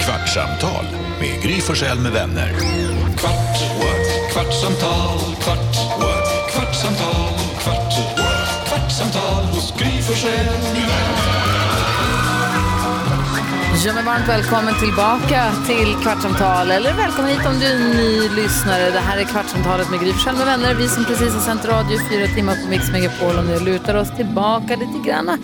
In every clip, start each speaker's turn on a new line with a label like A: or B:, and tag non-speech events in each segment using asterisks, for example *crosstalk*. A: Kvartsamtal med Gry Forssell med vänner.
B: Kvart, what? kvartsamtal, kvart, what? kvartsamtal, kvart, what? kvartsamtal hos Gry Forssell med vänner.
C: Ja, men varmt välkommen tillbaka till Kvartsamtal. Eller välkommen hit om du är en ny lyssnare. Det här är Kvartsamtalet med Gry Forssell med vänner. Vi som precis har sänt radio i fyra timmar på Mix Megapol och nu lutar oss tillbaka lite grann.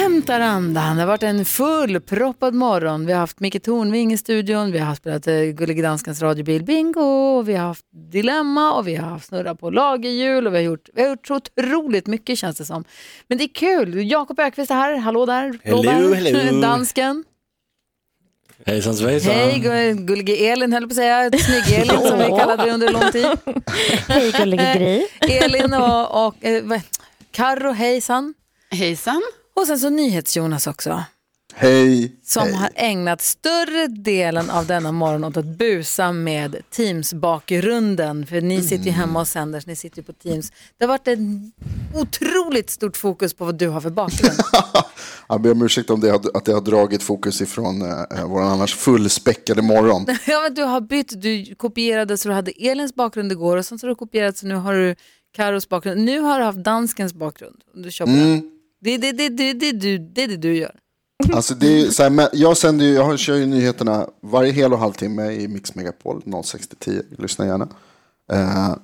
C: Hämtar andan. Det har varit en fullproppad morgon. Vi har haft Micke Tornving i studion. Vi har spelat eh, Gullige Danskans radiobil Bingo. Och vi har haft Dilemma och vi har haft Snurra på lagerhjul. Och vi har, gjort, vi har gjort så otroligt mycket känns det som. Men det är kul. Jakob Ökvist är här. Hallå där.
D: Hello,
C: Blåbär. *laughs*
D: hello.
C: Dansken.
D: Hejsan svejsan.
C: Hej gu- gullige Elin höll jag på att *laughs* säga, snygg-Elin som vi kallade dig under lång tid.
E: Hej gullige Gry.
C: Elin och, och eh, vad- Karro, hejsan.
F: Hejsan.
C: Och sen så NyhetsJonas också,
G: Hej.
C: som har ägnat större delen av denna morgon åt att busa med Teams-bakgrunden. För ni sitter ju hemma och sänder, så ni sitter ju på Teams. Det har varit ett otroligt stort fokus på vad du har för bakgrund.
G: Jag ber om ursäkt om det har, att det har dragit fokus ifrån eh, vår annars fullspäckade morgon.
C: *laughs* Ja, men du har bytt, du kopierade så du hade Elins bakgrund igår och sen så har du kopierat så nu har du Karos bakgrund. Nu har du haft danskens bakgrund. och Du kör på
G: Mm.
C: den. det, det, det, det, det, du- det är det du gör.
G: Alltså det är ju så här, men jag, sänder ju, jag har- kör ju nyheterna varje hel och halvtimme i Mix Megapol 06-10. Lyssna gärna. Eh,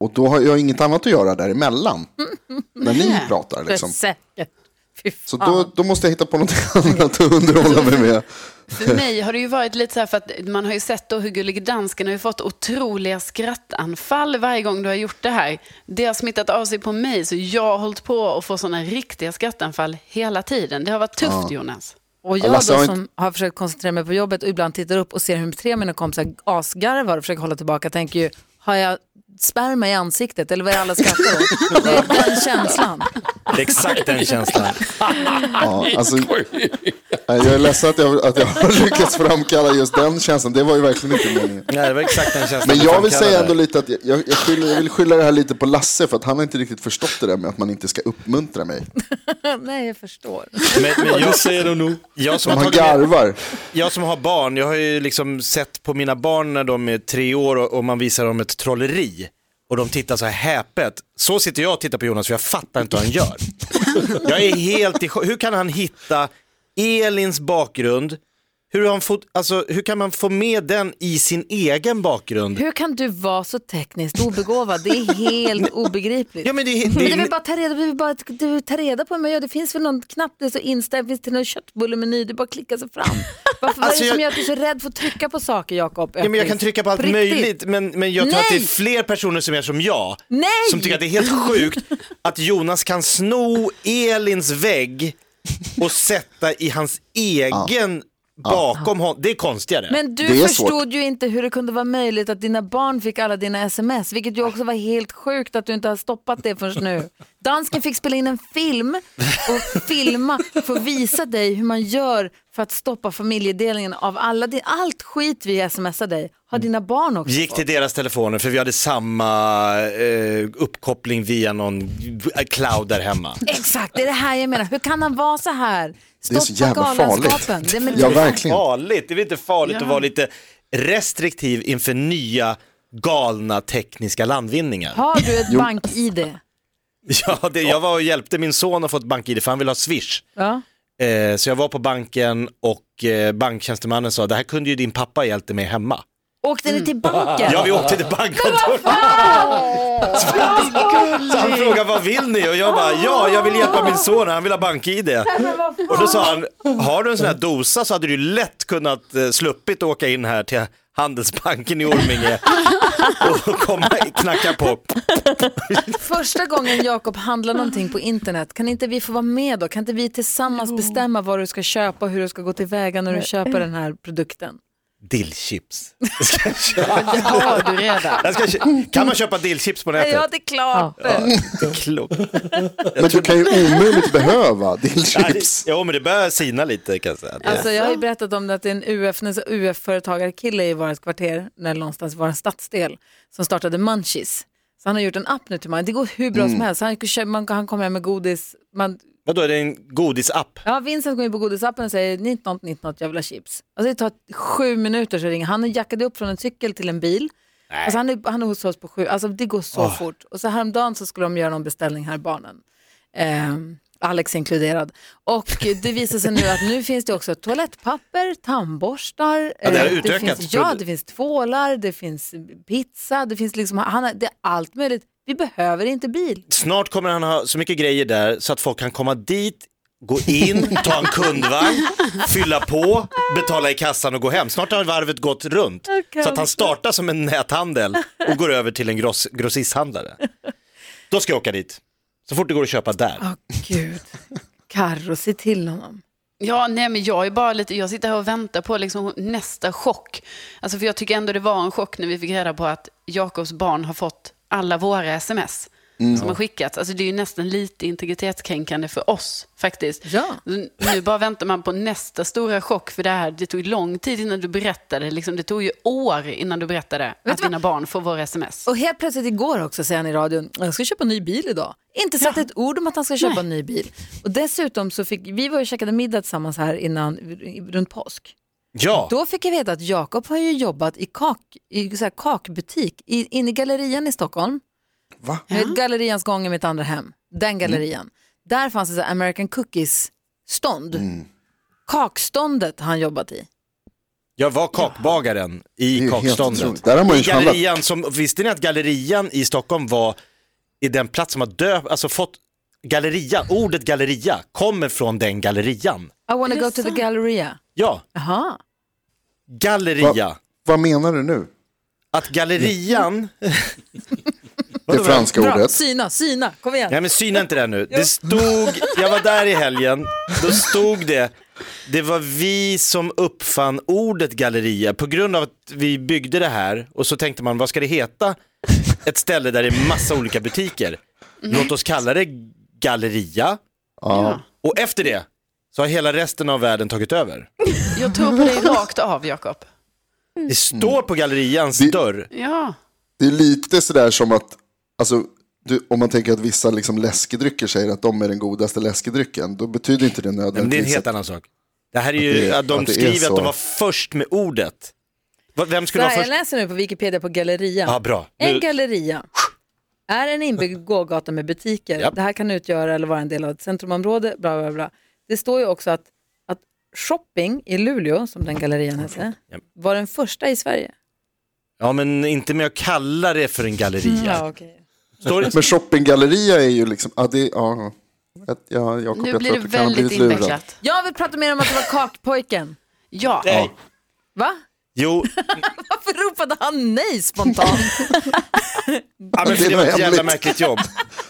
G: och då har jag inget annat att göra däremellan. När ni pratar liksom.
C: Säkert. Fy
G: Så
C: fan.
G: då, då måste jag hitta på något *laughs* annat att underhålla mig med.
F: För mig har det ju varit lite så här, för att man har ju sett då hur Gullige Dansken har ju fått otroliga skrattanfall varje gång du har gjort det här. Det har smittat av sig på mig, så jag har hållit på att få sådana riktiga skrattanfall hela tiden. Det har varit tufft, Jonas.
C: Och jag
G: Lasse
C: då
G: har
C: som har försökt koncentrera mig på jobbet och ibland tittar upp och ser hur tre av mina kompisar asgarvar och försöker hålla tillbaka tänker ju, har jag sperma i ansiktet eller vad är alla skrattar
G: *laughs*
C: åt? Det är den känslan. *laughs*
D: Det är exakt den känslan.
G: Ja, alltså, nej, jag är ledsen att jag, att jag har *laughs* lyckats framkalla just den känslan. Det var ju verkligen inte meningen.
D: *laughs* Nej, det var exakt den känslan.
G: Men jag vill
D: framkallade.
G: säga ändå lite att jag, jag, jag, skyller, jag vill skylla det här lite på Lasse för att han har inte riktigt förstått det där med att man inte ska uppmuntra mig.
C: Nej, jag förstår.
D: Men, men jag säger det nog. *laughs* Jag som,
G: De
D: har
G: har
D: tagit med,
G: garvar.
D: jag som har barn, jag har ju liksom sett på mina barn när de är tre år och, och man visar dem ett trolleri. Och de tittar så här häpet. Så sitter jag och tittar på Jonas för jag fattar inte vad han *laughs* gör. Jag är helt i chock. Hur kan han hitta Elins bakgrund? Hur, har han fått, alltså, hur kan man få med den i sin egen bakgrund?
C: Hur kan du vara så tekniskt obegåvad? Det är
D: *laughs*
C: helt obegripligt.
D: Ja, men det, det,
C: Men det är väl bara att ta reda, det är väl bara att du tar reda på hur man gör. Det finns väl någon knapp, det är så inställd, finns det någon köttbullemeny, det är bara att klicka sig
D: *laughs*
C: fram. Varför vad är
D: Alltså,
C: det som
D: jag-
C: gör att du är så rädd för att trycka på saker, Jakob?
D: Ja, men jag kan trycka på allt
C: riktigt.
D: möjligt, men, men jag tror att det är
C: Nej!
D: fler personer som är som jag.
C: Nej!
D: Som tycker att det är helt
C: *laughs*
D: sjukt att Jonas kan sno Elins vägg och sätta i hans egen bakom honom. Det är konstigare.
C: Men
G: Det
C: du
G: är svårt.
C: förstod ju inte hur det kunde vara möjligt att dina barn fick alla dina sms, vilket ju också var helt sjukt att du inte har stoppat det förrän nu. Dansken fick spela in en film och filma för att visa dig hur man gör för att stoppa familjedelningen av alla, din- allt skit vi smsar dig. Har dina barn
G: Mm.
C: också
D: Gick
C: fått.
D: till deras telefoner för vi hade samma eh, uppkoppling via någon eh, cloud där hemma.
C: Exakt, det är det här jag menar. Hur kan han vara så här?
G: Det är så
C: Stoppa
G: jävla
C: galenskapen.
G: farligt.
C: Det är men-
G: Ja, verkligen.
D: Farligt, det är väl inte farligt
F: Ja.
D: att vara lite restriktiv inför nya galna tekniska landvinningar.
C: Har du ett bank-id?
D: *laughs* Ja, det, jag var och hjälpte min son att få ett bank-id för han ville ha Swish.
C: Ja.
D: Eh, så jag var på banken och eh, banktjänstemannen sa, det här kunde ju din pappa hjälpte mig hemma.
C: Åkte
G: Mm.
C: ni till banken?
D: Ja, vi åkte till bankkontoret. *laughs* så han frågade, vad vill ni? Och jag bara, ja, jag vill hjälpa min son, han vill ha bank-id. Och då sa han, har du en sån här dosa så hade du ju lätt kunnat eh, sluppit åka in här till Handelsbanken i Orminge och komma knacka på.
C: Första gången Jakob handlar någonting på internet, kan inte vi få vara med då? Kan inte vi tillsammans bestämma vad du ska köpa och hur du ska gå tillväga när du köper den här produkten?
D: Dillchips.
F: *laughs* Det har du redan.
D: Jag ska, kö- kan man köpa dillchips på nätet?
C: det är klart.
D: Det är klokt.
G: Men du kan ju
D: *laughs*
G: omöjligt behöva dillchips.
D: Jo, men det börjar sina lite kan jag säga. Det-
C: Alltså, jag har ju berättat om det att det är en UF, en UF-företagarkille i vårt kvarter, när någonstans var en stadsdel, som startade Mm. Munchies. Så han har gjort en app nu till man. Det går hur bra som helst. Han, kan köpa- man, han kommer hem med godis, man
D: Vadå, är det en godisapp?
C: Ja, Vincent går in på godisappen och säger 19 19 jag vill ha chips. Alltså det tar sju minuter så ringer han. Han jackade upp från en cykel till en bil. Alltså han, är, han är hos oss på sju, alltså det går så fort. Och så häromdagen så skulle de göra någon beställning här, barnen. Ehm, Alex inkluderad. Och det visar sig nu att nu finns det också toalettpapper, tandborstar.
D: Ja, det har
C: eh,
D: utökat.
C: finns, ja, det finns tvålar, det finns pizza, det finns liksom, han, har- det är allt möjligt. Vi behöver inte bil.
D: Snart kommer han ha så mycket grejer där så att folk kan komma dit, gå in, ta en
F: *laughs*
D: kundvagn, fylla på, betala i kassan och gå hem. Snart har varvet gått runt. Så att han startar som en näthandel och går över till en gross, grossisthandlare. Då ska jag åka dit. Så fort det går att köpa där.
C: Åh
D: *laughs*
C: gud. Carro, se till honom.
F: Ja, nej men jag är bara lite, jag sitter här och väntar på liksom nästa chock. Alltså för jag tycker ändå det var en chock när vi fick reda på att Jakobs barn har fått alla våra sms som har skickats. Alltså det är ju nästan lite integritetskränkande för oss faktiskt.
C: Ja.
F: Nu bara väntar man på nästa stora chock för det här, det tog lång tid innan du berättade, liksom, det tog ju år innan du berättade att dina barn får våra sms.
C: Och helt plötsligt igår också säger han i radion, jag ska köpa en ny bil idag. Inte sagt ett ord om att han ska köpa en ny bil. Och dessutom så fick, vi var ju och käkade middag tillsammans här innan, runt påsk.
D: Ja,
C: Då fick jag veta att Jakob har ju jobbat i, kak, i så här kakbutik i, inne i gallerian i Stockholm.
G: Va?
C: Jag vet, Gallerians gång i mitt andra hem, den gallerian. Där fanns det så här American Cookies-stånd. Kakståndet har han jobbat i.
D: jag var kakbagaren
G: Det är
D: i
G: ju helt otroligt.
D: kakståndet.
G: Där har man ju
D: I
G: handlat.
D: gallerian som, visste ni att gallerian i Stockholm var i den plats som har döpt, alltså fått galleria, ordet galleria kommer från den gallerian.
C: I wanna go to the galleria.
D: Ja,
C: Jaha.
D: galleria.
G: Vad menar du nu?
D: Att gallerian,
G: Det franska
C: Bra,
G: ordet.
C: syna, syna, kom igen.
D: nej men syna inte det här nu. Det stod, jag var där i helgen, då stod det, det var vi som uppfann ordet galleria på grund av att vi byggde det här och så tänkte man vad ska det heta? Ett ställe där det är massa olika butiker. Låt oss kalla det galleria
G: Mhm. Ja.
D: och efter det så har hela resten av världen tagit över.
F: Jag tror
C: *laughs*
F: på dig rakt av, Jakob.
G: Mm.
D: Det står på gallerians
G: Det-
D: dörr.
F: Ja.
G: Det är lite sådär som att, alltså, du, om man tänker att vissa liksom läskedrycker säger att de är den godaste läskedrycken, då betyder inte det
D: Nej, men det är en
G: nödvändigtvis
D: helt annan sak. Det här är
G: Att
D: ju,
G: det är-
D: att de
G: att det är
D: skriver att
G: så.
D: de var först med ordet. Vad- Vem
C: Så
D: skulle vara
C: här,
D: först?
C: jag läser nu på Wikipedia på Galleria.
D: Ja, bra.
C: En
D: Nu,
C: galleria är en inbyggd gågata med butiker.
D: Japp.
C: Det här kan utgöra eller vara en del av ett centrumområde. Bla, bla, bla. Det står ju också att, att shopping i Luleå, som den gallerian hette,
D: Japp.
C: var den första i Sverige.
D: ja, men inte med att kalla det för en
C: Mm,
D: galleria. Står
G: *laughs*
D: det,
G: Men shoppinggalleria är ju liksom, ja det är, ja. Att, ja, Jakob,
F: Nu
G: jag
F: blir
G: tror
F: det
G: att du kan ha
F: väldigt
G: blivit lurad.
F: invecklat.
C: Jag vill prata mer om att det var kakpojken.
F: Ja.
D: nej.
C: Va?
D: Jo,
C: Varför ropade han nej spontant?
D: ja, men för *laughs*
G: Det
D: det var ett
G: var
D: jävla
G: hemligt.
D: märkligt jobb.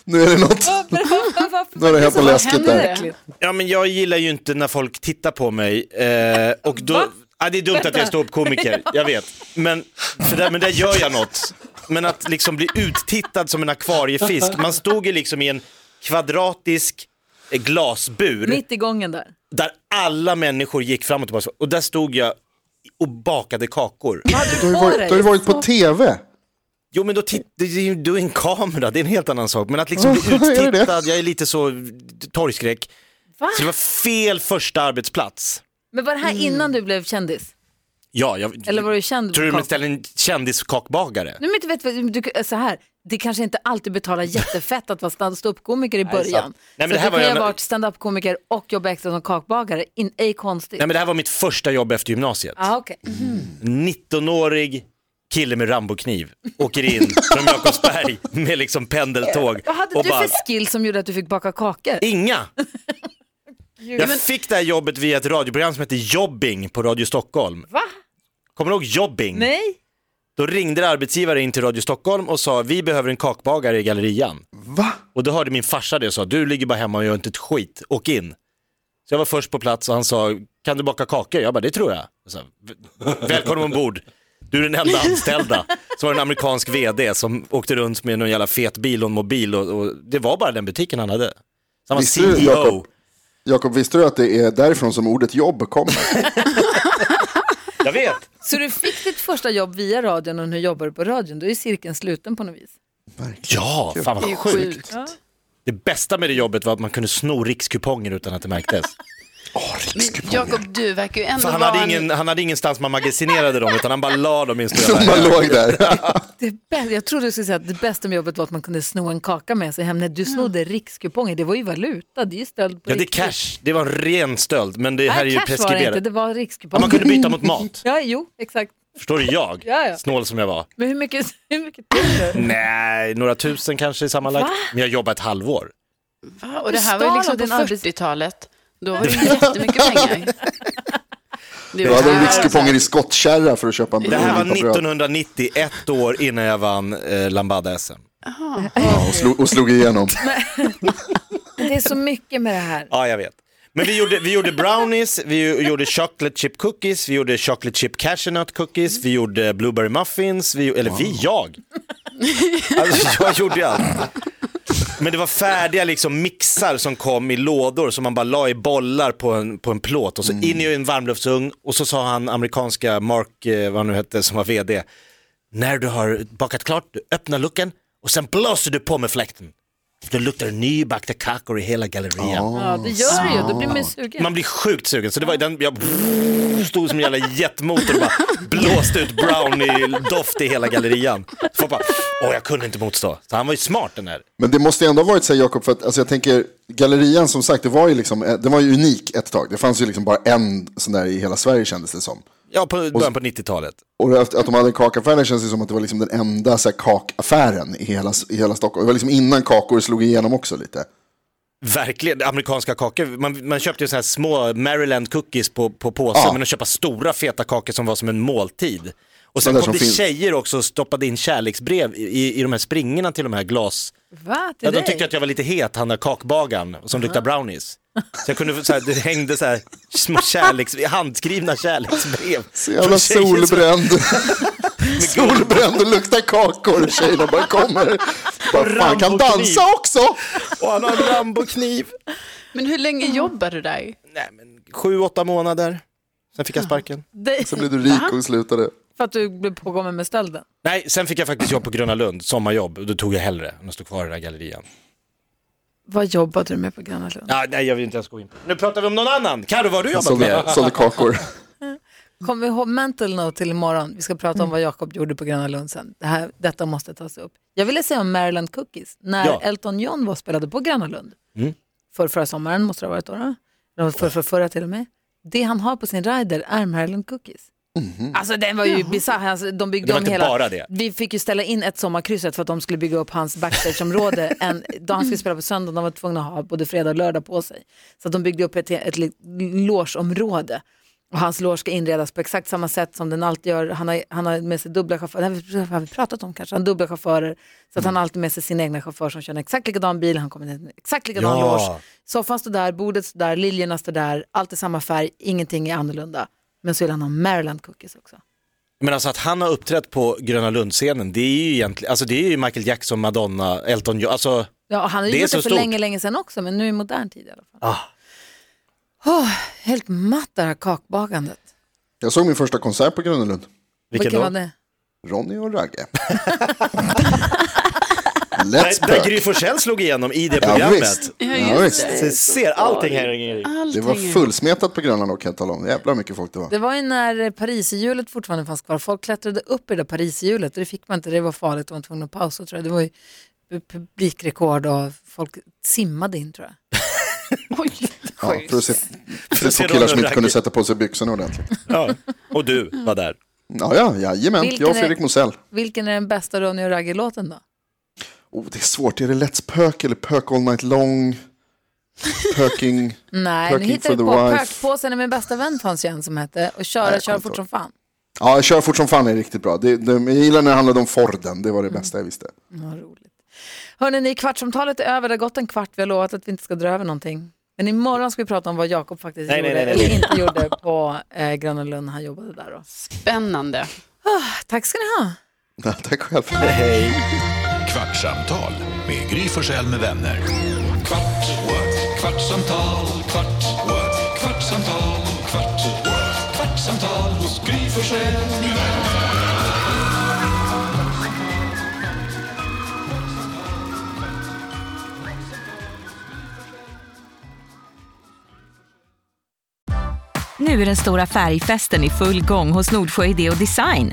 G: Nu är det
C: *laughs*
G: något,
C: Varför- varför-
G: nu är det helt på läsket
F: händer
G: där.
F: det?
D: Ja, men jag gillar ju inte när folk tittar på mig. Eh, och då, ja, det är dumt att jag står upp komiker, jag vet. Men, för där, men där gör jag något. Men att liksom bli uttittad som en akvariefisk. Man stod ju liksom i en kvadratisk eh, glasbur.
C: Mitt i gången där.
D: där alla människor gick fram och tillbaka och där stod jag och bakade kakor.
G: Du har ju varit, du har ju varit på tv.
D: Jo men då titt- det är ju du är en kamera, det är en helt annan sak. Men att
G: *laughs*
D: liksom bli
G: Är det
D: uttittad, jag är lite så torgskräck.
C: Va?
D: Så det var fel första arbetsplats.
C: Men var det här innan du blev kändis?
D: Ja, jag
C: Eller var du känd?
D: tror du
C: på
D: mig ställer en kändis-kakbagare?
C: Nej, men du vet, vad, du, så här, det kanske inte alltid
D: *laughs*
C: betalar jättefett att vara stand-up-komiker i början.
D: sant. Nej, men
C: så
D: det
C: du
D: här var
C: kan ju
D: ju
C: ha
D: en-
C: varit stand-up-komiker och jobba extra som kakbagare, In, ej konstigt.
D: Nej men det här var mitt första jobb efter gymnasiet.
C: ah, okay.
D: 19-årig kille med rambokniv åker in från Jakobsberg med liksom pendeltåg.
C: Vad hade
D: och
C: du
D: bara-
C: för skill som gjorde att du fick baka kakor?
D: Inga! Jag fick det här jobbet via ett radioprogram som hette Jobbing på Radio Stockholm.
C: Va?
D: Kommer du ihåg Jobbing?
C: Nej?
D: Då ringde det arbetsgivare in till Radio Stockholm och sa vi behöver en kakbagare i gallerian.
G: Va?
D: Och då hörde min farsa det och sa du ligger bara hemma och gör inte ett skit, åk in. Så jag var först på plats och han sa kan du baka kakor? Jag bara det tror jag. jag sa, "V- Välkommen ombord. Du är den enda anställda. Så var det en amerikansk vd som åkte runt med någon jävla fet bil och en mobil och, och det var bara den butiken han hade. Så han var E
G: Visste du,
D: CEO.
G: Jakob? Jakob, visste du att det är därifrån som ordet
D: *laughs*
G: jobb kommer? *laughs*
D: Jag vet.
C: Så du fick ditt första jobb via radion och nu jobbar du på radion, då är cirkeln sluten på något vis.
D: Ja, fan vad
F: Det är
D: sjukt.
F: sjukt.
D: Det bästa med det jobbet var att man kunde sno rikskuponger utan att det märktes.
F: Men Jakob, du verkar ju ändå
D: För han
F: vara...
D: hade,
F: en-
D: ingen, han hade ingenstans man magasinerade dem utan han bara la dem i en stor
G: *laughs* Som
D: affär.
G: bara låg där.
C: Det bä- jag trodde du skulle säga att det bästa med jobbet var att man kunde sno en kaka med sig hem. Nej, du snodde rikskuponger, det var ju valuta, det är ju stöld på
D: Ja, det är
C: riktigt.
D: cash. Det var en ren stöld. Men det här är
C: Nej,
D: ju
C: cash var det inte,
D: preskriberat.
C: det var
D: Ja,
C: rikskuponger.
D: man kunde
C: *laughs*
D: byta mot mat.
C: Ja, jo, exakt.
D: Förstår du jag?
C: Ja, ja.
D: Snål som jag var.
C: Men hur mycket, *laughs* hur mycket tog det?
D: Nej, några tusen kanske sammanlagt. Men jag jobbade ett halvår.
F: Va? Och det här var ju
C: Stal
F: liksom
C: av
F: på
C: din arbets-
F: 40-talet. Då var det ju jättemycket pengar.
G: Då hade de
F: här-
G: rikskuponger i skottkärra för att köpa en
D: Det här var
G: bit av bröd.
D: 1990, ett år innan jag vann eh, Lambada-SM.
G: Ja, och, slog, och slog igenom.
C: Det är så mycket med det här.
D: Ja, jag vet. Men vi gjorde, vi gjorde brownies, vi ju- gjorde chocolate chip cookies, vi gjorde chocolate chip cashewnut cookies, vi gjorde blueberry muffins, vi, eller vi, jag. Alltså, jag gjorde ju allt. Men det var färdiga liksom mixar som kom i lådor som man bara la i bollar på en, på en plåt och så in i en varmluftsugn och så sa han amerikanska Mark, eh, vad han nu hette, som var vd, när du har bakat klart, du öppnar luckan och sen blåser du på med fläkten. Då luktar det nybakta kakor i hela gallerian.
C: Ja, det gör det ju, då blir man ju sugen.
D: Man blir sjukt sugen, så det var ju den, jag stod som en jävla jetmotor och bara blåste ut brownie-doft i hela gallerian. Folk bara, åh jag kunde inte motstå. Så han var ju smart den här.
G: Men det måste ju ändå ha varit så här, Jakob, för att alltså, jag tänker, gallerian som sagt, det var ju liksom, eh, den var ju unik ett tag. Det fanns ju liksom bara en sån där i hela Sverige kändes det som.
D: Ja, på början på 90-talet.
G: Och att, att de hade en kakaffär, det känns ju som att det var liksom den enda så här, kakaffären i hela, i hela Stockholm. Det var liksom innan kakor slog igenom också lite.
D: Verkligen, amerikanska kakor. Man, man köpte ju så här små Maryland cookies på, på påse,
G: Ja.
D: men att köpa stora feta kakor som var som en måltid. Och sen
G: Sådana
D: kom
G: där som
D: det
G: finns.
D: tjejer också och stoppade in kärleksbrev i, i, i de här springorna till de här glas...
C: Va, till
D: Ja, de
C: dig?
D: tyckte att jag var lite het, han där kakbagaren som luktar brownies. Så jag kunde, så här, det hängde så här, små kärleks, handskrivna kärleksbrev.
G: Så jävla
D: från tjejer som- *laughs*
G: *laughs* solbränd. solbränd och luktar kakor. Tjejerna bara kommer. Bara, fan, kan dansa också.
D: Och han har en rambokniv.
F: Men hur länge jobbade du där?
D: Nej men, sju, åtta månader. Sen fick jag sparken.
C: Det-
G: Så blev du rik och slutade.
C: För att du blev påkommen med stölden.
D: Nej, sen fick jag faktiskt jobb på Gröna Lund, sommarjobb. Och Då tog jag hellre än att stå kvar i den här gallerian.
C: Vad jobbade du med på Gröna Lund?
D: Ja, nej, jag vill inte ens gå in på det. Nu pratar vi om någon annan. Carro, vad har du jobbat
G: Sålde,
D: med?
G: sålde kakor.
C: Kom ihåg mental note till imorgon. Vi ska prata om vad Jakob gjorde på Gröna Lund sen. Det här, detta måste tas upp. Jag ville säga om Maryland Cookies. När
D: Ja. Mm.
C: Elton John var och spelade på Gröna Lund. För förra sommaren måste det ha varit då. då? Eller För, för förra till och med. Det han har på sin rider är Maryland Cookies. Alltså den var ju bisarr. Alltså, de byggde
D: Mhm. Det var
C: om
D: inte
C: hela...
D: bara det.
C: Vi fick ju ställa in ett sommarkrysset för att de skulle bygga upp hans backstageområde. en, då han skulle spela på söndagen, de var tvungna att ha både fredag och lördag på sig. Så att de byggde upp ett, ett li- logeområde. Och hans loge ska inredas på exakt samma sätt som den alltid gör. Han har, han har med sig dubbla chaufförer, det här har vi pratat om kanske, han har dubbla chaufförer. Så att han har alltid med sig sin egna chaufför som kör en exakt likadan bil, han kommer till en exakt likadan
D: Ja.
C: loge. Soffan står där, bordet står där, liljorna står där, allt är samma färg, ingenting är annorlunda. Men så vill han ha Maryland cookies också.
D: Men alltså att han har uppträtt på Gröna Lund-scenen, det är ju egentligen, alltså det är ju Michael Jackson, Madonna, Elton John, alltså
C: Ja, och han har ju
D: Det är
C: gjort
D: så
C: det för
D: stort.
C: länge, länge sedan också, men nu i modern tid i alla fall. Åh, helt matt det här kakbakandet.
G: Jag såg min första konsert på Gröna Lund.
D: vilken då?
C: var det?
G: Ronny
D: *laughs*
G: och Ragge.
D: Där,
G: Let's
D: där
G: pök.
D: Gry Forssell slog igenom i det
G: Ja,
D: programmet.
G: visst. Ja, visst.
D: Så ser allting här hänger i.
G: Det var fullsmetat på Gröna Lund kan jag tala om. Jävlar hur mycket folk det var.
C: Det var ju när pariserhjulet fortfarande fanns kvar. Folk klättrade upp i det där pariserhjulet och det fick man inte, det var farligt och man var tvungen att pausa tror jag. Det var ju publikrekord och folk simmade in tror jag.
F: Oj,
G: Ja, för att se, för att
D: se
G: se killar som
D: Ronny och
G: inte kunde
D: Ragge.
G: sätta på sig byxorna ordentligt.
D: Ja. Och du var där.
G: Ja, ja, jajamän.
C: Vilken
G: Jag och
C: är-
G: Fredrik Mosell.
C: Vilken är den bästa Ronny och Ragge-låten då?
G: Oh, det är svårt. Är det Let's Pök eller Pök All Night Long? Pöking.
C: Nej, nu
G: Perking *laughs*
C: hittar vi
G: for the
C: på.
G: wife.
C: Pökpåsen är min bästa vän fanns ju en som hette. Och köra,
G: Nej,
C: köra
G: kom
C: fort
G: inte
C: som fan.
G: Ja, Kör fort som fan är riktigt bra. Det, det, jag gillar när det handlade om Forden. Det var det bästa jag visste. *laughs*
C: Vad roligt. Hörrni, ni, kvartsamtalet är över. Det har gått en kvart. Vi har lovat att vi inte ska dra över någonting. Men imorgon ska vi prata om vad Jakob faktiskt
D: Nej,
C: gjorde
D: nej, nej, nej.
C: eller inte gjorde på eh, Gröna Lund när han jobbade där. Då.
F: spännande.
C: Tack ska ni ha.
G: Ja, Tack själv.
A: Kvartsamtal med Gry Forssell med vänner.
B: Kvart, what? kvartsamtal, kvart, what? kvartsamtal, kvart, what? kvartsamtal hos Gry Forssell med vänner.
H: Nu är den stora färgfesten i full gång hos Nordsjö Idé och Design.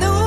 I: No